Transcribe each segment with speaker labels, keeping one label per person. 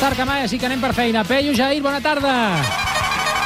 Speaker 1: tard que mai, així que anem per feina. Peyu, Jair, bona tarda.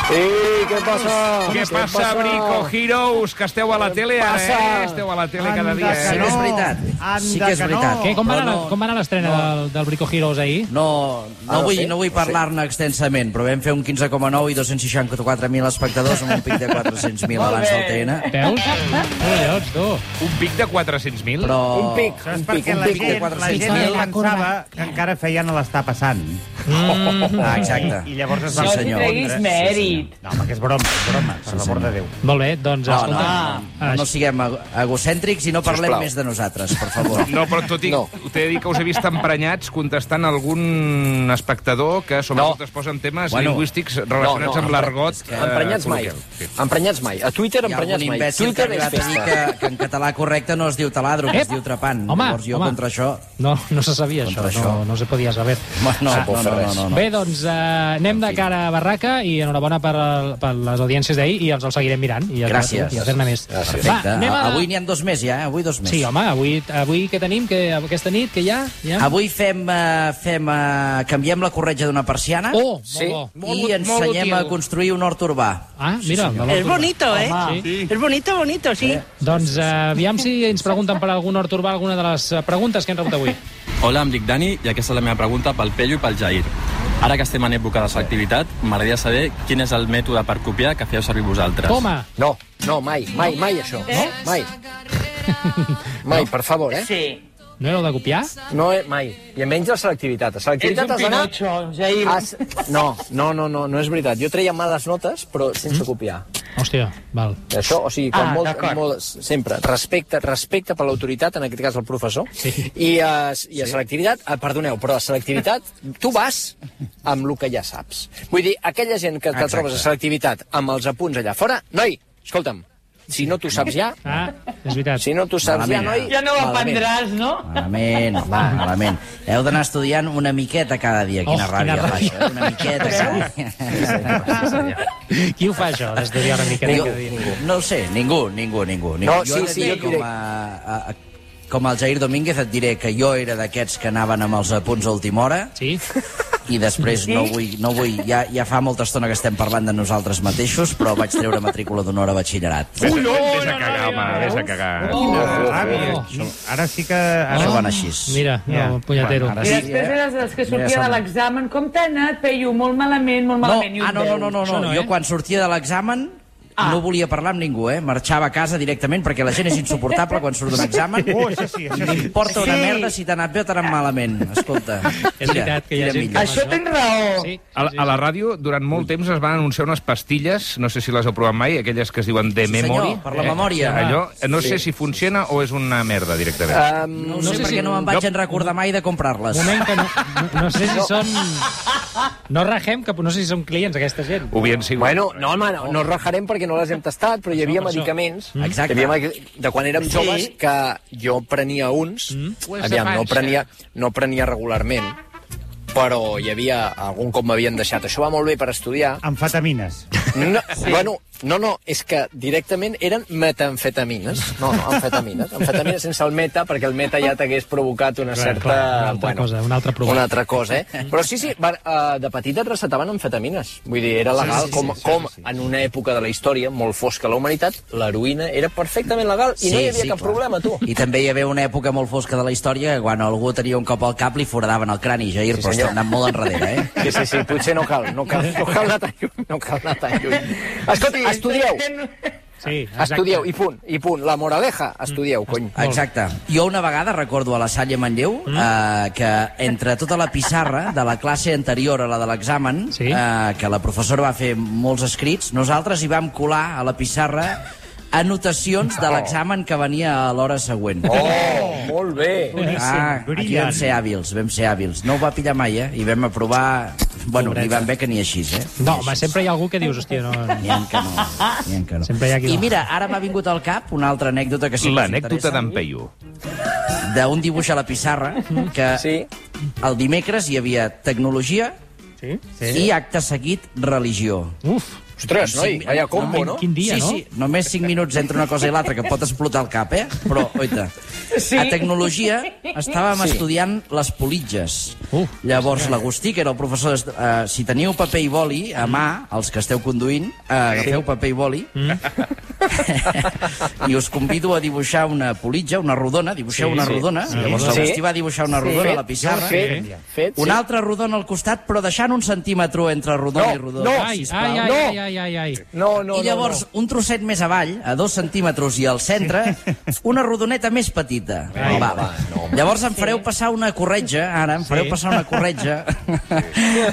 Speaker 2: Ei, què passa?
Speaker 3: Què passa, Brico Heroes, que esteu a la tele ara, eh?
Speaker 2: passa?
Speaker 3: Esteu a la tele cada dia. eh?
Speaker 4: Sí que és veritat. Sí que és veritat.
Speaker 1: Què, com va
Speaker 4: No,
Speaker 1: anar,
Speaker 4: Oh. no.
Speaker 1: com va anar l'estrena del, del Brico Heroes ahir?
Speaker 4: No,
Speaker 2: Ah,
Speaker 4: no,
Speaker 2: no
Speaker 4: vull,
Speaker 2: sé,
Speaker 4: no vull
Speaker 2: no sé.
Speaker 4: parlar-ne extensament, però vam fer un 15,9 i 264.000 espectadors amb un pic de 400.000 abans del TN.
Speaker 1: Veus? Collons, tu.
Speaker 3: Un pic de 400.000?
Speaker 4: Però...
Speaker 2: Un pic,
Speaker 5: Això és
Speaker 2: un pic,
Speaker 5: perquè
Speaker 4: un
Speaker 5: la
Speaker 4: pic de
Speaker 5: gent, la
Speaker 4: 400.000.
Speaker 5: gent pensava que encara feia no l'està passant.
Speaker 4: Ah, exacte.
Speaker 5: I llavors es
Speaker 4: Sí,
Speaker 5: va
Speaker 4: senyor.
Speaker 6: treguis
Speaker 4: Sí,
Speaker 6: mèrit.
Speaker 5: No, home, que és broma, és broma, per l'amor de Déu.
Speaker 1: Molt bé, doncs,
Speaker 4: No, no,
Speaker 1: escolta...
Speaker 4: no, no siguem ego- egocèntrics i no parlem
Speaker 2: Sisplau.
Speaker 4: més de nosaltres, per favor.
Speaker 3: No, però tot i... No.
Speaker 2: No.
Speaker 3: T'he de dir que us he vist emprenyats contestant a algun espectador que sobretot
Speaker 2: No.
Speaker 3: es posa en temes
Speaker 4: Bueno.
Speaker 3: lingüístics relacionats amb l'argot. eh,
Speaker 2: Emprenyats mai.
Speaker 3: col·loquial. Sí.
Speaker 2: Emprenyats mai. A Twitter,
Speaker 4: Hi ha algun
Speaker 2: emprenyats mai.
Speaker 4: imbècil que ha
Speaker 2: Twitter és
Speaker 4: arribat a dir
Speaker 2: festa.
Speaker 4: que, que en català correcte no es diu taladro, que es
Speaker 1: Ep!
Speaker 4: diu trepant.
Speaker 1: Home,
Speaker 4: Llavors jo
Speaker 1: home.
Speaker 4: contra això...
Speaker 1: No, no se sabia això,
Speaker 4: Contra
Speaker 1: No,
Speaker 4: això.
Speaker 1: no se podia saber.
Speaker 4: No, no,
Speaker 2: Ah,
Speaker 4: no, no, no, no, no.
Speaker 1: Bé, doncs eh, anem de cara a Barraca i enhorabona per, el, per les audiències d'ahir i els, els seguirem mirant. I els
Speaker 4: Gràcies.
Speaker 1: I a fer-ne més.
Speaker 2: Gràcies.
Speaker 4: Perfecte.
Speaker 1: anem a...
Speaker 4: Avui n'hi ha dos més ja, eh? avui dos més.
Speaker 1: Sí, home, avui, avui què tenim? Que, aquesta nit, que hi ha? Hi ha?
Speaker 4: Avui fem, eh, fem eh, canbiem la corretja d'una persiana
Speaker 1: Oh,
Speaker 2: Sí.
Speaker 1: molt bo.
Speaker 4: i ensenyem a construir un hort urbà.
Speaker 1: Ah, mira, sí,
Speaker 7: Es bonito, ¿eh?
Speaker 1: Sí.
Speaker 7: Es bonito, bonito, sí.
Speaker 1: Doncs eh, aviam si ens pregunten per algun hort urbà alguna de les eh, preguntes que hem rebut avui.
Speaker 8: Hola, em dic Dani i aquesta és la meva pregunta pel Pello i pel Jair. Ara que estem en època de selectivitat, m'agradaria saber quin és el mètode per copiar que feu servir vosaltres.
Speaker 1: Toma!
Speaker 2: No, no, mai, mai, mai això. No? Mai. Mai, per favor, eh?
Speaker 6: Sí.
Speaker 1: No éreu de copiar?
Speaker 2: No, eh, mai. I almenys la selectivitat. La selectivitat has d'anar...
Speaker 6: Jair.
Speaker 2: Has... No, no, no, no, no és veritat. Jo treia males notes, però sense copiar.
Speaker 1: Hòstia, val.
Speaker 2: Això, o sigui, com
Speaker 6: Ah,
Speaker 2: ah, molt,
Speaker 6: d'acord.
Speaker 2: molt, sempre, respecte, respecte per l'autoritat, en aquest cas el professor, sí. i, uh, i a selectivitat, uh, perdoneu, però a selectivitat tu vas amb el que ja saps. Vull dir, aquella gent que te trobes a selectivitat amb els apunts allà fora, noi, escolta'm, si no t'ho saps ja,
Speaker 1: Ah, és veritat.
Speaker 2: si no t'ho saps ja,
Speaker 4: Malament.
Speaker 2: noi...
Speaker 6: Ja no ho
Speaker 2: malament.
Speaker 6: aprendràs, no?
Speaker 4: Malament, home, malament. Heu d'anar estudiant una miqueta cada dia. Quina
Speaker 1: Oh,
Speaker 4: ràbia,
Speaker 1: quina
Speaker 4: fa
Speaker 1: ràbia.
Speaker 4: això, eh? Una miqueta cada dia.
Speaker 1: Qui ho fa, això, d'estudiar una miqueta?
Speaker 4: Ningú, ningú. No ho sé, ningú, ningú, ningú. ningú.
Speaker 2: No, sí,
Speaker 4: he de
Speaker 2: sí,
Speaker 4: dir
Speaker 2: jo et diré.
Speaker 4: com a, a, a, com el Jair Domínguez et diré que jo era d'aquests que anaven amb els apunts a última hora
Speaker 1: Sí?
Speaker 4: i després no vull, no vull ja, ja fa molta estona que estem parlant de nosaltres mateixos, però vaig treure matrícula d'honor a batxillerat.
Speaker 3: Vés, vés a cagar, home, vés a cagar.
Speaker 4: Ah,
Speaker 5: Ràbia. Ah, Ara sí que...
Speaker 4: Això
Speaker 5: Ara...
Speaker 4: va anar així.
Speaker 1: Mira,
Speaker 5: Ja.
Speaker 1: no, punyatero.
Speaker 4: Bueno, ara
Speaker 6: I
Speaker 4: Sí,
Speaker 6: després
Speaker 4: eh?
Speaker 6: eres dels que sortia
Speaker 4: Mira,
Speaker 6: de
Speaker 4: som-
Speaker 6: l'examen. Com t'ha anat, Peyu? Molt malament, molt
Speaker 4: No,
Speaker 6: malament. I un
Speaker 4: ah, no, no,
Speaker 6: deu.
Speaker 4: no, no,
Speaker 1: Això
Speaker 4: no.
Speaker 1: no, eh?
Speaker 4: jo quan sortia de l'examen
Speaker 6: Ah.
Speaker 4: no volia parlar amb ningú, eh? Marxava a casa directament perquè la gent és insuportable quan surt d'un examen.
Speaker 5: Oh, això sí, això sí.
Speaker 4: Porta una
Speaker 6: Sí.
Speaker 4: merda si t'ha anat bé o t'ha anat malament. Escolta,
Speaker 1: És veritat que hi ha
Speaker 4: tira
Speaker 1: gent que...
Speaker 4: millor.
Speaker 1: fa
Speaker 6: Això tens raó.
Speaker 1: Sí,
Speaker 3: A, la- a la ràdio, durant molt temps, es van anunciar unes pastilles, no sé si les heu provat mai, aquelles que es diuen de
Speaker 4: Sí, senyor,
Speaker 3: memory. eh?
Speaker 4: per la memòria.
Speaker 3: Allò, no sé si funciona o és una merda, directament.
Speaker 2: Um,
Speaker 4: No,
Speaker 1: No
Speaker 4: ho sé
Speaker 1: sé si-
Speaker 4: perquè no me'n vaig en recordar mai de comprar-les.
Speaker 1: moment que no, no, no sé si són... No ragem, que no sé si són clients, aquesta gent.
Speaker 3: Ho havien sigut.
Speaker 2: Bueno, no, home, no, no rajarem perquè no les hem tastat, però hi havia
Speaker 1: per això.
Speaker 2: medicaments
Speaker 4: Mm. Exacte.
Speaker 2: hi havia medic- de quan érem joves que jo prenia uns,
Speaker 3: Pues
Speaker 2: aviam, no
Speaker 3: defensa.
Speaker 2: prenia, no prenia regularment, però hi havia algun cop m'havien deixat. Això va molt bé per estudiar.
Speaker 5: Amfetamines.
Speaker 2: No, sí. bueno, no, no, és que directament eren metamfetamines. No, no, amfetamines. Amfetamines sense el meta, perquè el meta ja t'hagués provocat una certa...
Speaker 1: clar, una altra
Speaker 2: bueno,
Speaker 1: cosa, una altra prova.
Speaker 2: Una altra cosa, eh? Però sí, sí, va, uh, de petit et recetaven amfetamines. Vull dir, era legal, sí, sí, com, sí, com sí, sí. en una època de la història molt fosca a la humanitat, l'heroïna era perfectament legal i sí, no hi havia sí, cap clar. problema, tu.
Speaker 4: I també hi havia una època molt fosca de la història que quan algú tenia un cop al cap li foradaven el crani, Jair,
Speaker 2: Sí,
Speaker 4: però
Speaker 2: senyor.
Speaker 4: estem anant molt enrere, eh?
Speaker 2: Sí, sí, sí, potser no cal, no cal, no cal anar tan lluny, no cal anar tan lluny. Escolti, estudieu,
Speaker 1: Sí, exacte.
Speaker 2: estudieu, i punt, i punt. La moraleja, estudieu, cony.
Speaker 4: Exacte. Jo una vegada recordo a la Salle Manlleu mm. eh, que entre tota la pissarra de la classe anterior a la de l'examen,
Speaker 1: Sí.
Speaker 4: eh, que la professora va fer molts escrits, nosaltres hi vam colar a la pissarra anotacions
Speaker 1: Oh.
Speaker 4: de l'examen que venia a l'hora següent.
Speaker 2: Oh, molt bé.
Speaker 4: Ah, aquí
Speaker 5: brillant.
Speaker 4: vam ser hàbils, vam ser hàbils. No ho va pillar mai, eh? I vam aprovar... Bueno, ni vam bé que ni així, eh?
Speaker 1: No, home, sempre hi ha algú que dius, hòstia, no...
Speaker 4: N'hi ha que no. N'hi ha que no.
Speaker 1: Sempre hi ha qui
Speaker 4: I
Speaker 1: no.
Speaker 4: mira, ara m'ha vingut al cap una altra anècdota que sí que us
Speaker 3: L'anècdota
Speaker 4: interessa,
Speaker 3: d'en Peyu.
Speaker 4: d'un dibuix a la pissarra que
Speaker 2: Sí.
Speaker 4: el dimecres hi havia tecnologia
Speaker 1: Sí?
Speaker 4: sí. i acte seguit religió.
Speaker 1: Uf,
Speaker 2: Ostres, noi, vaya combo,
Speaker 1: quin,
Speaker 2: no?
Speaker 1: quin dia,
Speaker 4: sí,
Speaker 1: no?
Speaker 4: sí, només 5 minuts entre una cosa i l'altra, que pot explotar el cap, eh? Però, oita,
Speaker 6: Sí.
Speaker 4: a tecnologia estàvem sí. estudiant les politges. Uh, Llavors l'Agustí, que era el professor... d'est- Eh, si teniu paper i boli a mà, els que esteu conduint, eh, agafeu paper i boli i us convido a dibuixar una politja, una rodona, dibuixeu
Speaker 1: Sí,
Speaker 4: una
Speaker 1: sí.
Speaker 4: rodona.
Speaker 1: Sí.
Speaker 4: Llavors
Speaker 2: Sí.
Speaker 4: l'Agustí va dibuixar una rodona a la pissarra.
Speaker 2: Fet, fet,
Speaker 4: Una
Speaker 2: sí.
Speaker 4: altra rodona al costat, però deixant un centímetre entre rodona
Speaker 2: No,
Speaker 4: i rodona.
Speaker 2: no,
Speaker 1: Ai, ai, ai,
Speaker 2: No.
Speaker 1: ai, ai, ai, ai.
Speaker 2: No, no,
Speaker 4: I llavors,
Speaker 2: no,
Speaker 4: un trosset més avall, a dos centímetres i al centre, una rodoneta més petita. Ai, va, va. No, llavors em fareu passar una corretja, ara, em fareu
Speaker 1: Sí.
Speaker 4: passar una corretja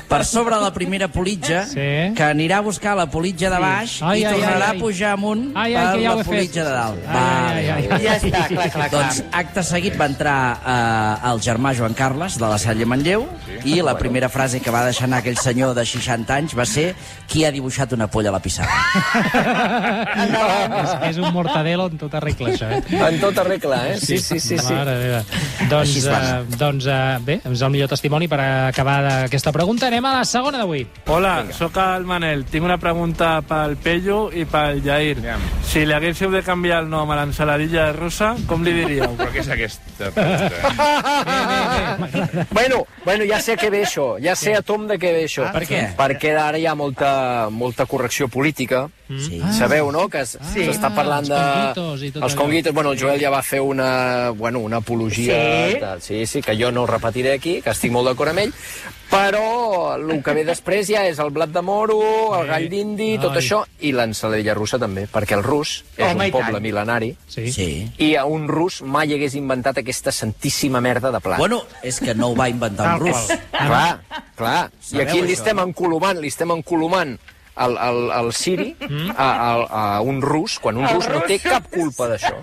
Speaker 4: per sobre la primera politja,
Speaker 1: Sí.
Speaker 4: que anirà a buscar la politja de baix
Speaker 1: Ai,
Speaker 4: i
Speaker 1: ai,
Speaker 4: tornarà
Speaker 1: ai,
Speaker 4: a pujar amunt
Speaker 1: Ai, ai,
Speaker 4: per
Speaker 1: que ja ho
Speaker 4: la
Speaker 1: he fet.
Speaker 4: politja de dalt.
Speaker 1: Ai, ai, ai, ai.
Speaker 6: Ja està, clar, clar, clar.
Speaker 4: Doncs acte seguit va entrar eh, el germà Joan Carles de la Salle Manlleu i la primera frase que va deixar anar aquell senyor de 60 anys va ser qui ha dibuixat una polla a la pissarra.
Speaker 1: És, és un mortadelo en tota regla, això, eh?
Speaker 2: En tota regla, eh? Sí, sí, sí. sí.
Speaker 1: Mare meva. Doncs,
Speaker 4: Així es
Speaker 1: uh,
Speaker 4: fa.
Speaker 1: doncs uh, bé, és el millor testimoni per acabar aquesta pregunta. Anem a la segona d'avui.
Speaker 9: Hola, sóc el Manel. Tinc una pregunta pel Pello i pel Jair.
Speaker 3: Aviam.
Speaker 9: Si li haguéssiu de canviar el nom a l'ensaladilla russa, com li diríeu?
Speaker 3: Però què és aquesta pregunta?
Speaker 2: Bueno, bueno, ja sé a què ve això, ja sé a tom de què ve això.
Speaker 4: Per què?
Speaker 2: Perquè ara hi ha molta, molta correcció política.
Speaker 4: Sí.
Speaker 2: Sabeu, no?, que s- s'està parlant
Speaker 1: els
Speaker 2: de...
Speaker 1: conguitos i tot
Speaker 2: Els
Speaker 1: allò.
Speaker 2: conguitos. Bueno, el Joel ja va fer una, bueno, una apologia...
Speaker 6: Sí.
Speaker 2: De... sí, sí, que jo no repetiré aquí, que estic molt d'acord amb ell, però el que ve després ja és el blat de moro, el gall d'indi, tot
Speaker 1: Ai.
Speaker 2: això, i l'ensaladilla russa també, perquè el rus és
Speaker 6: Home, i
Speaker 2: un poble
Speaker 6: tant.
Speaker 2: mil·lenari,
Speaker 1: Sí. sí.
Speaker 4: Sí.
Speaker 2: i a un rus mai hagués inventat aquesta santíssima merda de plat.
Speaker 4: Bueno, és que no ho va inventar un
Speaker 5: Tal
Speaker 4: rus.
Speaker 5: qual.
Speaker 2: Clar, clar. I
Speaker 4: Sabeu
Speaker 2: aquí li
Speaker 4: això,
Speaker 2: estem encolomant, li estem encolomant el, el, el siri a, a, a un rus, quan un rus no té cap culpa d'això.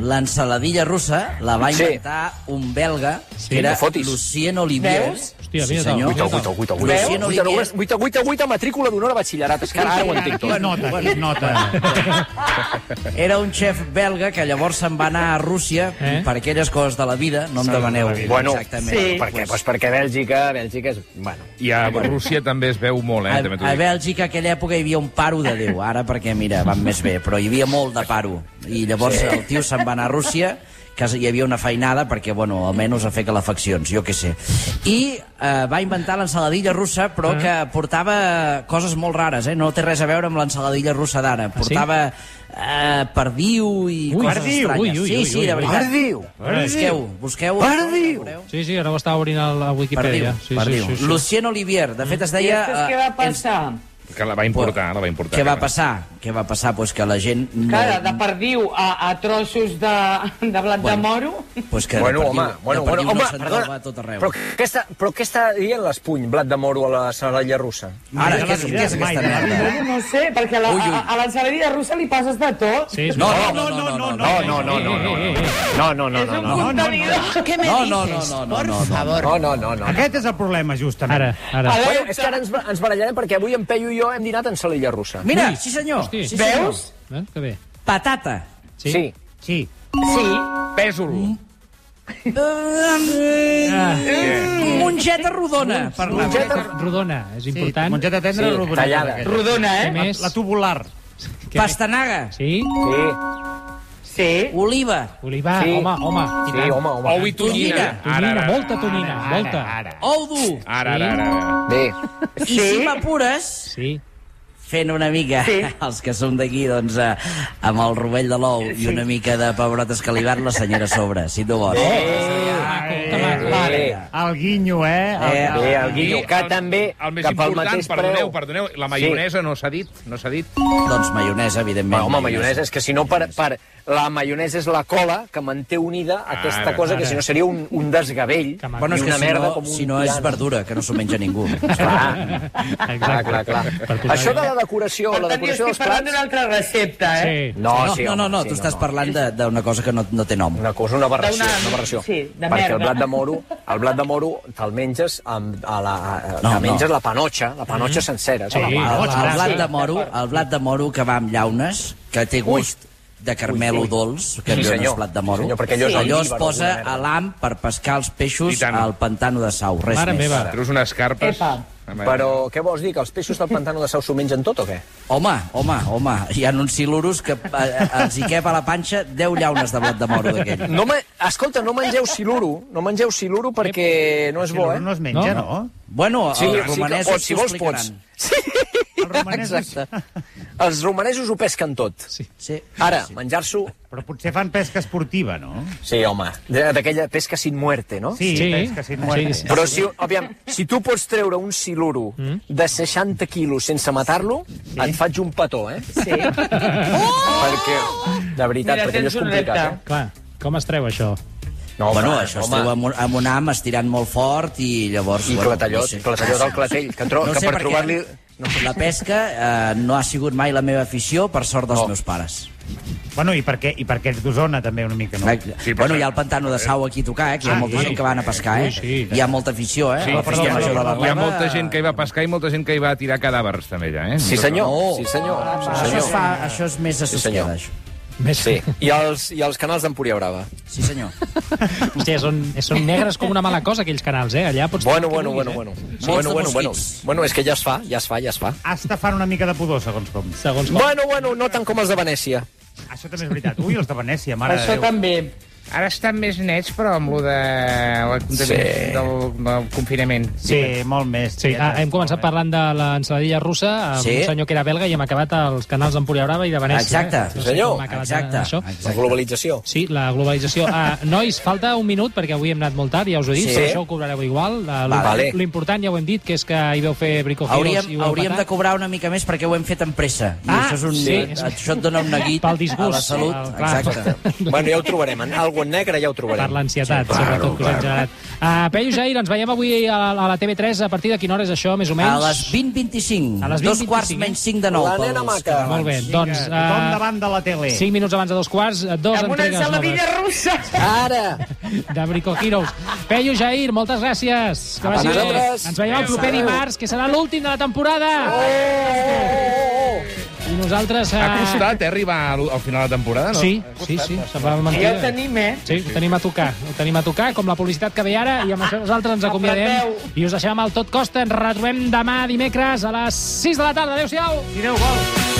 Speaker 4: L'ensaladilla russa la va
Speaker 2: Sí.
Speaker 4: inventar un belga, que
Speaker 2: no
Speaker 4: era
Speaker 2: fotis.
Speaker 4: Lucien Olivier.
Speaker 6: Veus?
Speaker 1: Hòstia,
Speaker 4: sí,
Speaker 1: mira,
Speaker 4: senyor.
Speaker 1: tal, mira,
Speaker 2: 8 a 8 a 8
Speaker 4: Veus?
Speaker 2: a 8 a 8 8 a 8 a 8 a matrícula d'honor a batxillerat. És que ara ho entenc
Speaker 5: La
Speaker 2: tot.
Speaker 5: nota, la nota.
Speaker 4: Era un xef belga que llavors se'n va anar a Rússia
Speaker 1: Eh?
Speaker 4: per aquelles coses de la vida, no em demaneu
Speaker 2: Bueno,
Speaker 4: exactament.
Speaker 6: sí.
Speaker 2: Per què? Pues perquè Bèlgica, Bèlgica és... Bueno,
Speaker 3: I a Rússia també es veu molt, eh?
Speaker 4: A,
Speaker 3: També t'ho
Speaker 4: a
Speaker 3: dic.
Speaker 4: Bèlgica aquella època hi havia un paro de Déu, ara perquè, mira, van més bé, però hi havia molt de paro. I llavors sí. el tio se'n va anar a Rússia, que hi havia una feinada perquè, bueno, almenys a fer calefaccions, jo què sé. I eh, va inventar l'ensaladilla russa,
Speaker 1: Ah.
Speaker 4: però que portava coses molt rares, eh? No té res a veure amb l'ensaladilla russa d'ara.
Speaker 1: Ah, sí?
Speaker 4: Portava eh, perdiu i
Speaker 1: Ui,
Speaker 4: coses
Speaker 1: perdiu, ui,
Speaker 4: estranyes.
Speaker 1: ui, ui,
Speaker 4: sí, sí, de
Speaker 1: ui.
Speaker 4: veritat.
Speaker 2: Perdiu,
Speaker 4: Busqueu, busqueu. Perdiu!
Speaker 1: Sí, sí, ara ho estava obrint a la
Speaker 4: Perdiu,
Speaker 1: Wikipedia. sí,
Speaker 4: perdiu.
Speaker 1: Sí, sí, sí.
Speaker 4: Lucien Olivier, de fet es
Speaker 6: I
Speaker 4: deia...
Speaker 6: després què
Speaker 4: eh,
Speaker 6: va passar?
Speaker 3: Que la va importar, la va importar.
Speaker 4: Què va passar? Què va passar? Pues que la gent... No...
Speaker 6: Cara, de perdiu a, a trossos de, de blat de moro.
Speaker 4: Pues que
Speaker 2: bueno,
Speaker 4: de
Speaker 2: home,
Speaker 4: perdiu,
Speaker 2: bueno,
Speaker 4: de perdiu
Speaker 2: bueno, home,
Speaker 4: no se'n
Speaker 2: perdona,
Speaker 4: trobava a tot arreu.
Speaker 2: però què, està, però què està dient l'espuny, blat de moro a la senaralla russa?
Speaker 4: Ara, què és,
Speaker 5: Mai de la
Speaker 4: què és
Speaker 5: vida,
Speaker 4: aquesta
Speaker 5: mai de la
Speaker 4: merda?
Speaker 5: vida.
Speaker 6: No sé, perquè a la-
Speaker 4: Ui, ui.
Speaker 6: a- a l'ensaladilla russa li passes de tot.
Speaker 1: Sí, és
Speaker 4: No,
Speaker 1: veritat.
Speaker 4: no, no, no, no, no.
Speaker 2: No, no, no, no, no, no, no, no, no,
Speaker 6: És un
Speaker 2: no, no.
Speaker 6: contenidor.
Speaker 7: ¿Qué me
Speaker 4: No,
Speaker 7: dices?
Speaker 4: no, no, no, no,
Speaker 7: Por
Speaker 4: no, no.
Speaker 7: favor.
Speaker 2: No, no, no, no.
Speaker 5: Aquest és el problema, justament.
Speaker 1: Ara, ara.
Speaker 6: Alerta.
Speaker 2: Bueno, és que ara ens, ens barallarem perquè avui en Peyu i jo hem dinat en salilla russa.
Speaker 4: Mira,
Speaker 1: Ui.
Speaker 4: sí senyor.
Speaker 1: Hosti.
Speaker 4: Sí, senyor.
Speaker 6: Veus?
Speaker 1: Eh? Que bé.
Speaker 4: Patata.
Speaker 1: Sí?
Speaker 2: Sí.
Speaker 5: Sí.
Speaker 6: Sí.
Speaker 3: Pèsol.
Speaker 1: Ah,
Speaker 4: Mm, Mongeta rodona. Per la...
Speaker 2: Mongeta
Speaker 1: Rodona, és important.
Speaker 5: Mongeta tendra,
Speaker 2: Sí,
Speaker 5: rodoneta,
Speaker 2: tallada.
Speaker 5: aquesta.
Speaker 6: Rodona,
Speaker 1: Què
Speaker 6: eh?
Speaker 1: més?
Speaker 5: La tubular.
Speaker 1: Què més?
Speaker 4: Pastanaga.
Speaker 1: Sí?
Speaker 2: Sí,
Speaker 6: Sí.
Speaker 4: Oliva.
Speaker 1: Olivar,
Speaker 2: Sí.
Speaker 1: home, home. i
Speaker 2: sí,
Speaker 1: tant.
Speaker 2: home,
Speaker 3: Ou
Speaker 2: home.
Speaker 3: i tonyina.
Speaker 1: Tonyina, molta tonyina, molta.
Speaker 5: Ara, ara.
Speaker 4: Ou dur.
Speaker 3: Ara, ara, ara. ara.
Speaker 2: Bé,
Speaker 4: I si m'apures,
Speaker 1: Sí.
Speaker 4: fent una mica, sí. els que som d'aquí, doncs, eh, amb el rovell de l'ou i una mica de pebrotes que li van la senyora a sobre, si tu vols.
Speaker 1: Ah, Que maco.
Speaker 2: bé,
Speaker 5: Ah, eh, El guinyo, eh? El-
Speaker 4: Eh,
Speaker 2: bé, el guinyo, que també,
Speaker 3: El més
Speaker 2: que pel
Speaker 3: important,
Speaker 2: mateix
Speaker 3: perdoneu,
Speaker 2: preu...
Speaker 3: perdoneu, la maionesa no s'ha dit, no s'ha dit.
Speaker 4: Doncs maionesa, evidentment.
Speaker 2: Bueno, home, maionesa, és que si no, per, per, la maionesa és la cola que manté unida aquesta
Speaker 3: Ara,
Speaker 2: cosa,
Speaker 1: ara.
Speaker 2: que si no seria un, un desgavell
Speaker 1: Que maco.
Speaker 4: Bueno,
Speaker 2: i
Speaker 4: és que
Speaker 2: una
Speaker 4: si
Speaker 2: merda
Speaker 4: no,
Speaker 2: com un
Speaker 4: si no és
Speaker 2: piano.
Speaker 4: verdura, que no s'ho menja ningú.
Speaker 2: Clar, clar, clar, clar.
Speaker 1: Per posar
Speaker 2: Això de
Speaker 1: bé.
Speaker 2: la decoració,
Speaker 6: Per
Speaker 2: la
Speaker 6: tant, jo
Speaker 2: decoració
Speaker 6: estic
Speaker 2: dels
Speaker 6: parlant
Speaker 2: plats...
Speaker 6: d'una altra recepta, eh?
Speaker 1: Sí.
Speaker 2: No,
Speaker 4: no,
Speaker 2: sí,
Speaker 4: no,
Speaker 2: home,
Speaker 4: no, no
Speaker 2: sí,
Speaker 4: tu estàs parlant de- d'una cosa que no, no té nom.
Speaker 2: Una cosa, una aberració,
Speaker 6: D'una-
Speaker 2: una aberració.
Speaker 6: sí, de
Speaker 2: Perquè
Speaker 6: merda.
Speaker 2: el blat de moro, el blat de moro te'l menges amb, a la, a,
Speaker 4: No,
Speaker 2: no,
Speaker 4: no.
Speaker 2: te menges la panotxa, la panotxa mm. sencera.
Speaker 1: Sí.
Speaker 2: la
Speaker 4: El,
Speaker 2: mà.
Speaker 4: el, blat de moro, el blat de moro que va amb llaunes, que té gust de carmelo dolç, que
Speaker 2: Sí,
Speaker 4: allò no
Speaker 2: senyor.
Speaker 4: és blat de
Speaker 2: Sí,
Speaker 4: moro.
Speaker 2: senyor, perquè allò és
Speaker 4: allò
Speaker 2: el
Speaker 4: es
Speaker 2: líbaro,
Speaker 4: posa
Speaker 2: alguna merda.
Speaker 4: a l'am per pescar els peixos
Speaker 3: I tant.
Speaker 4: al pantano de Sau, res
Speaker 1: Mare
Speaker 4: més.
Speaker 1: meva.
Speaker 3: Treus unes carpes...
Speaker 6: Epa.
Speaker 3: Home,
Speaker 2: Però què vols dir, que els peixos del pantano de Sau s'ho mengen tot o què?
Speaker 4: Home, home, home, hi ha uns silurus que eh, els hi cap a la panxa 10 llaunes de blat de moro d'aquell.
Speaker 2: No me... Escolta, no mengeu siluro, no mengeu siluro perquè no és bo,
Speaker 5: Siluro
Speaker 2: eh?
Speaker 5: no es menja,
Speaker 1: No,
Speaker 5: no?
Speaker 4: Bueno,
Speaker 2: Sí,
Speaker 4: els
Speaker 2: sí que,
Speaker 4: romanesos
Speaker 2: o si vols pots.
Speaker 4: explicaran.
Speaker 2: Sí,
Speaker 5: Els romanesos-
Speaker 2: exacte. Els romanesos ho pesquen tot.
Speaker 1: Sí.
Speaker 4: Sí.
Speaker 2: Ara, menjar-s'ho...
Speaker 5: Però potser fan pesca esportiva, no?
Speaker 2: Sí, home, de- d'aquella pesca sin muerte, no?
Speaker 5: Sí,
Speaker 1: Sí.
Speaker 5: pesca sin muerte.
Speaker 1: Sí, sí.
Speaker 2: Però si, òbviam, si tu pots treure un siluro de 60 quilos sense matar-lo, et faig un petó, eh? Sí. Perquè, de veritat, perquè
Speaker 6: Mira,
Speaker 2: allò
Speaker 6: tens
Speaker 2: és
Speaker 6: un
Speaker 2: complicat,
Speaker 6: repte.
Speaker 1: Clar, com es treu això?
Speaker 2: eh? No,
Speaker 4: bueno, això es treu amb un, amb un am estirant molt fort i llavors...
Speaker 2: I
Speaker 4: bueno,
Speaker 2: clatallot,
Speaker 4: sé.
Speaker 2: clatallot del clatell, que, tro...
Speaker 4: No
Speaker 2: que
Speaker 4: sé
Speaker 2: per
Speaker 4: per què.
Speaker 2: trobar-li...
Speaker 4: No. La pesca eh, no ha sigut mai la meva afició, per sort dels
Speaker 2: No.
Speaker 4: no. meus pares.
Speaker 5: Bueno, i perquè, i perquè ets d'Osona, també, una mica, no?
Speaker 4: Sí, bueno, hi ha el pantano de Sau aquí a tocar, eh, que hi ha
Speaker 5: Ah,
Speaker 4: molta
Speaker 5: sí.
Speaker 4: gent que van a pescar, eh?
Speaker 1: Sí, sí.
Speaker 4: Hi ha molta afició, eh?
Speaker 3: Sí,
Speaker 4: a la
Speaker 3: sí,
Speaker 4: pesca
Speaker 5: perdó,
Speaker 4: major de la
Speaker 3: Hi ha
Speaker 4: Blava.
Speaker 3: molta gent que hi va pescar i molta gent que hi va tirar cadàvers, també, ja, eh?
Speaker 2: Sí, senyor,
Speaker 4: No.
Speaker 2: sí, senyor. Sí,
Speaker 4: Ah, Això,
Speaker 2: senyor.
Speaker 4: es fa, això és més a
Speaker 2: Sí,
Speaker 4: Susqueda,
Speaker 2: senyor.
Speaker 4: això.
Speaker 1: Més...
Speaker 2: Sí, i els, i els canals d'Empúria Brava.
Speaker 4: Sí, senyor.
Speaker 1: Hòstia, són, són negres com una mala cosa, aquells canals, eh? Allà pots...
Speaker 2: Bueno, bueno, bueno, bueno. Bueno,
Speaker 4: de
Speaker 2: bueno, bueno.
Speaker 4: mosquits.
Speaker 2: Bueno, és que ja es fa, ja es fa, ja es fa.
Speaker 5: Hasta fan una mica de pudor, segons com.
Speaker 1: eh? Segons com.
Speaker 2: Bueno, bueno, no tant com els de Venècia.
Speaker 5: Això també és veritat. Ui, els de Venècia, mare
Speaker 6: Això
Speaker 5: de Déu.
Speaker 6: també.
Speaker 10: Ara estan més nets, però amb lo de la contaminació
Speaker 2: Sí.
Speaker 10: sí. del, del confinament.
Speaker 5: Sí, molt més. eh?
Speaker 1: Sí, ah, hem començat parlant de l'ensaladilla russa amb sí.
Speaker 4: Sí.
Speaker 1: un senyor que era belga i hem acabat als canals d'Empúria Brava i de Venècia.
Speaker 4: Exacte.
Speaker 1: Eh? No
Speaker 2: Sí,
Speaker 1: sé
Speaker 2: senyor.
Speaker 1: com ha acabat
Speaker 4: Exacte.
Speaker 1: Això.
Speaker 2: La globalització.
Speaker 1: Sí, la globalització. Ah, nois, falta un minut perquè avui hem anat molt tard, ja us ho he dit,
Speaker 4: Sí.
Speaker 1: però això ho cobrareu igual. Ah, lo-
Speaker 2: Vale.
Speaker 1: L'important, ja ho hem dit, que és que hi veu fer Brico Heroes i
Speaker 4: Hauríem,
Speaker 1: ho
Speaker 4: hauríem de
Speaker 1: empatar.
Speaker 4: cobrar una mica més perquè ho hem fet amb pressa. I
Speaker 1: Ah,
Speaker 4: això, és un,
Speaker 1: sí.
Speaker 4: això et dona un neguit
Speaker 1: Pel disgust.
Speaker 4: a la salut.
Speaker 1: Ah, clar.
Speaker 4: Exacte.
Speaker 2: Bueno, ja ho trobarem. En algo en negre ja ho
Speaker 1: per
Speaker 2: trobarem.
Speaker 1: l'ansietat, sobretot, que us hem generat. Uh, Peyu Jair, ens veiem avui a la, a la TV3. A partir de quina hora és això, més o
Speaker 4: A
Speaker 1: menys?
Speaker 4: les 20.25.
Speaker 1: A les 20:25,
Speaker 4: Dos quarts
Speaker 1: eh?
Speaker 4: menys 5 de 9.
Speaker 2: La nena maca.
Speaker 1: Molt bé,
Speaker 5: Doncs,
Speaker 1: doncs...
Speaker 5: uh... Tothom
Speaker 1: Uh,
Speaker 5: davant de la tele.
Speaker 1: 5 minuts abans de dos quarts, eh, dos
Speaker 6: Amb una
Speaker 1: entregues
Speaker 6: ensaladilla
Speaker 1: noves
Speaker 6: russa.
Speaker 2: Ara!
Speaker 1: de Brico Heroes. Peyu Jair, moltes gràcies. Que vagi bé.
Speaker 2: vosaltres.
Speaker 1: Ens veiem el proper
Speaker 2: Adéu.
Speaker 1: dimarts, que serà l'últim de la temporada. I nosaltres...
Speaker 3: Ha
Speaker 1: Uh,
Speaker 3: costat, eh, arribar al, al final de la temporada, no?
Speaker 1: sí, sí, sí, semblava
Speaker 6: Ja ho
Speaker 1: mentida.
Speaker 6: tenim, eh?
Speaker 1: Sí, ho tenim a tocar, ho tenim a tocar, com la publicitat que ve ara, i amb això nosaltres ens acomiadem
Speaker 6: Apreteu.
Speaker 1: i us deixem al Tot Costa. Ens retrobem demà dimecres a les 6 de la tarda. Adéu-siau!
Speaker 5: Tireu gols.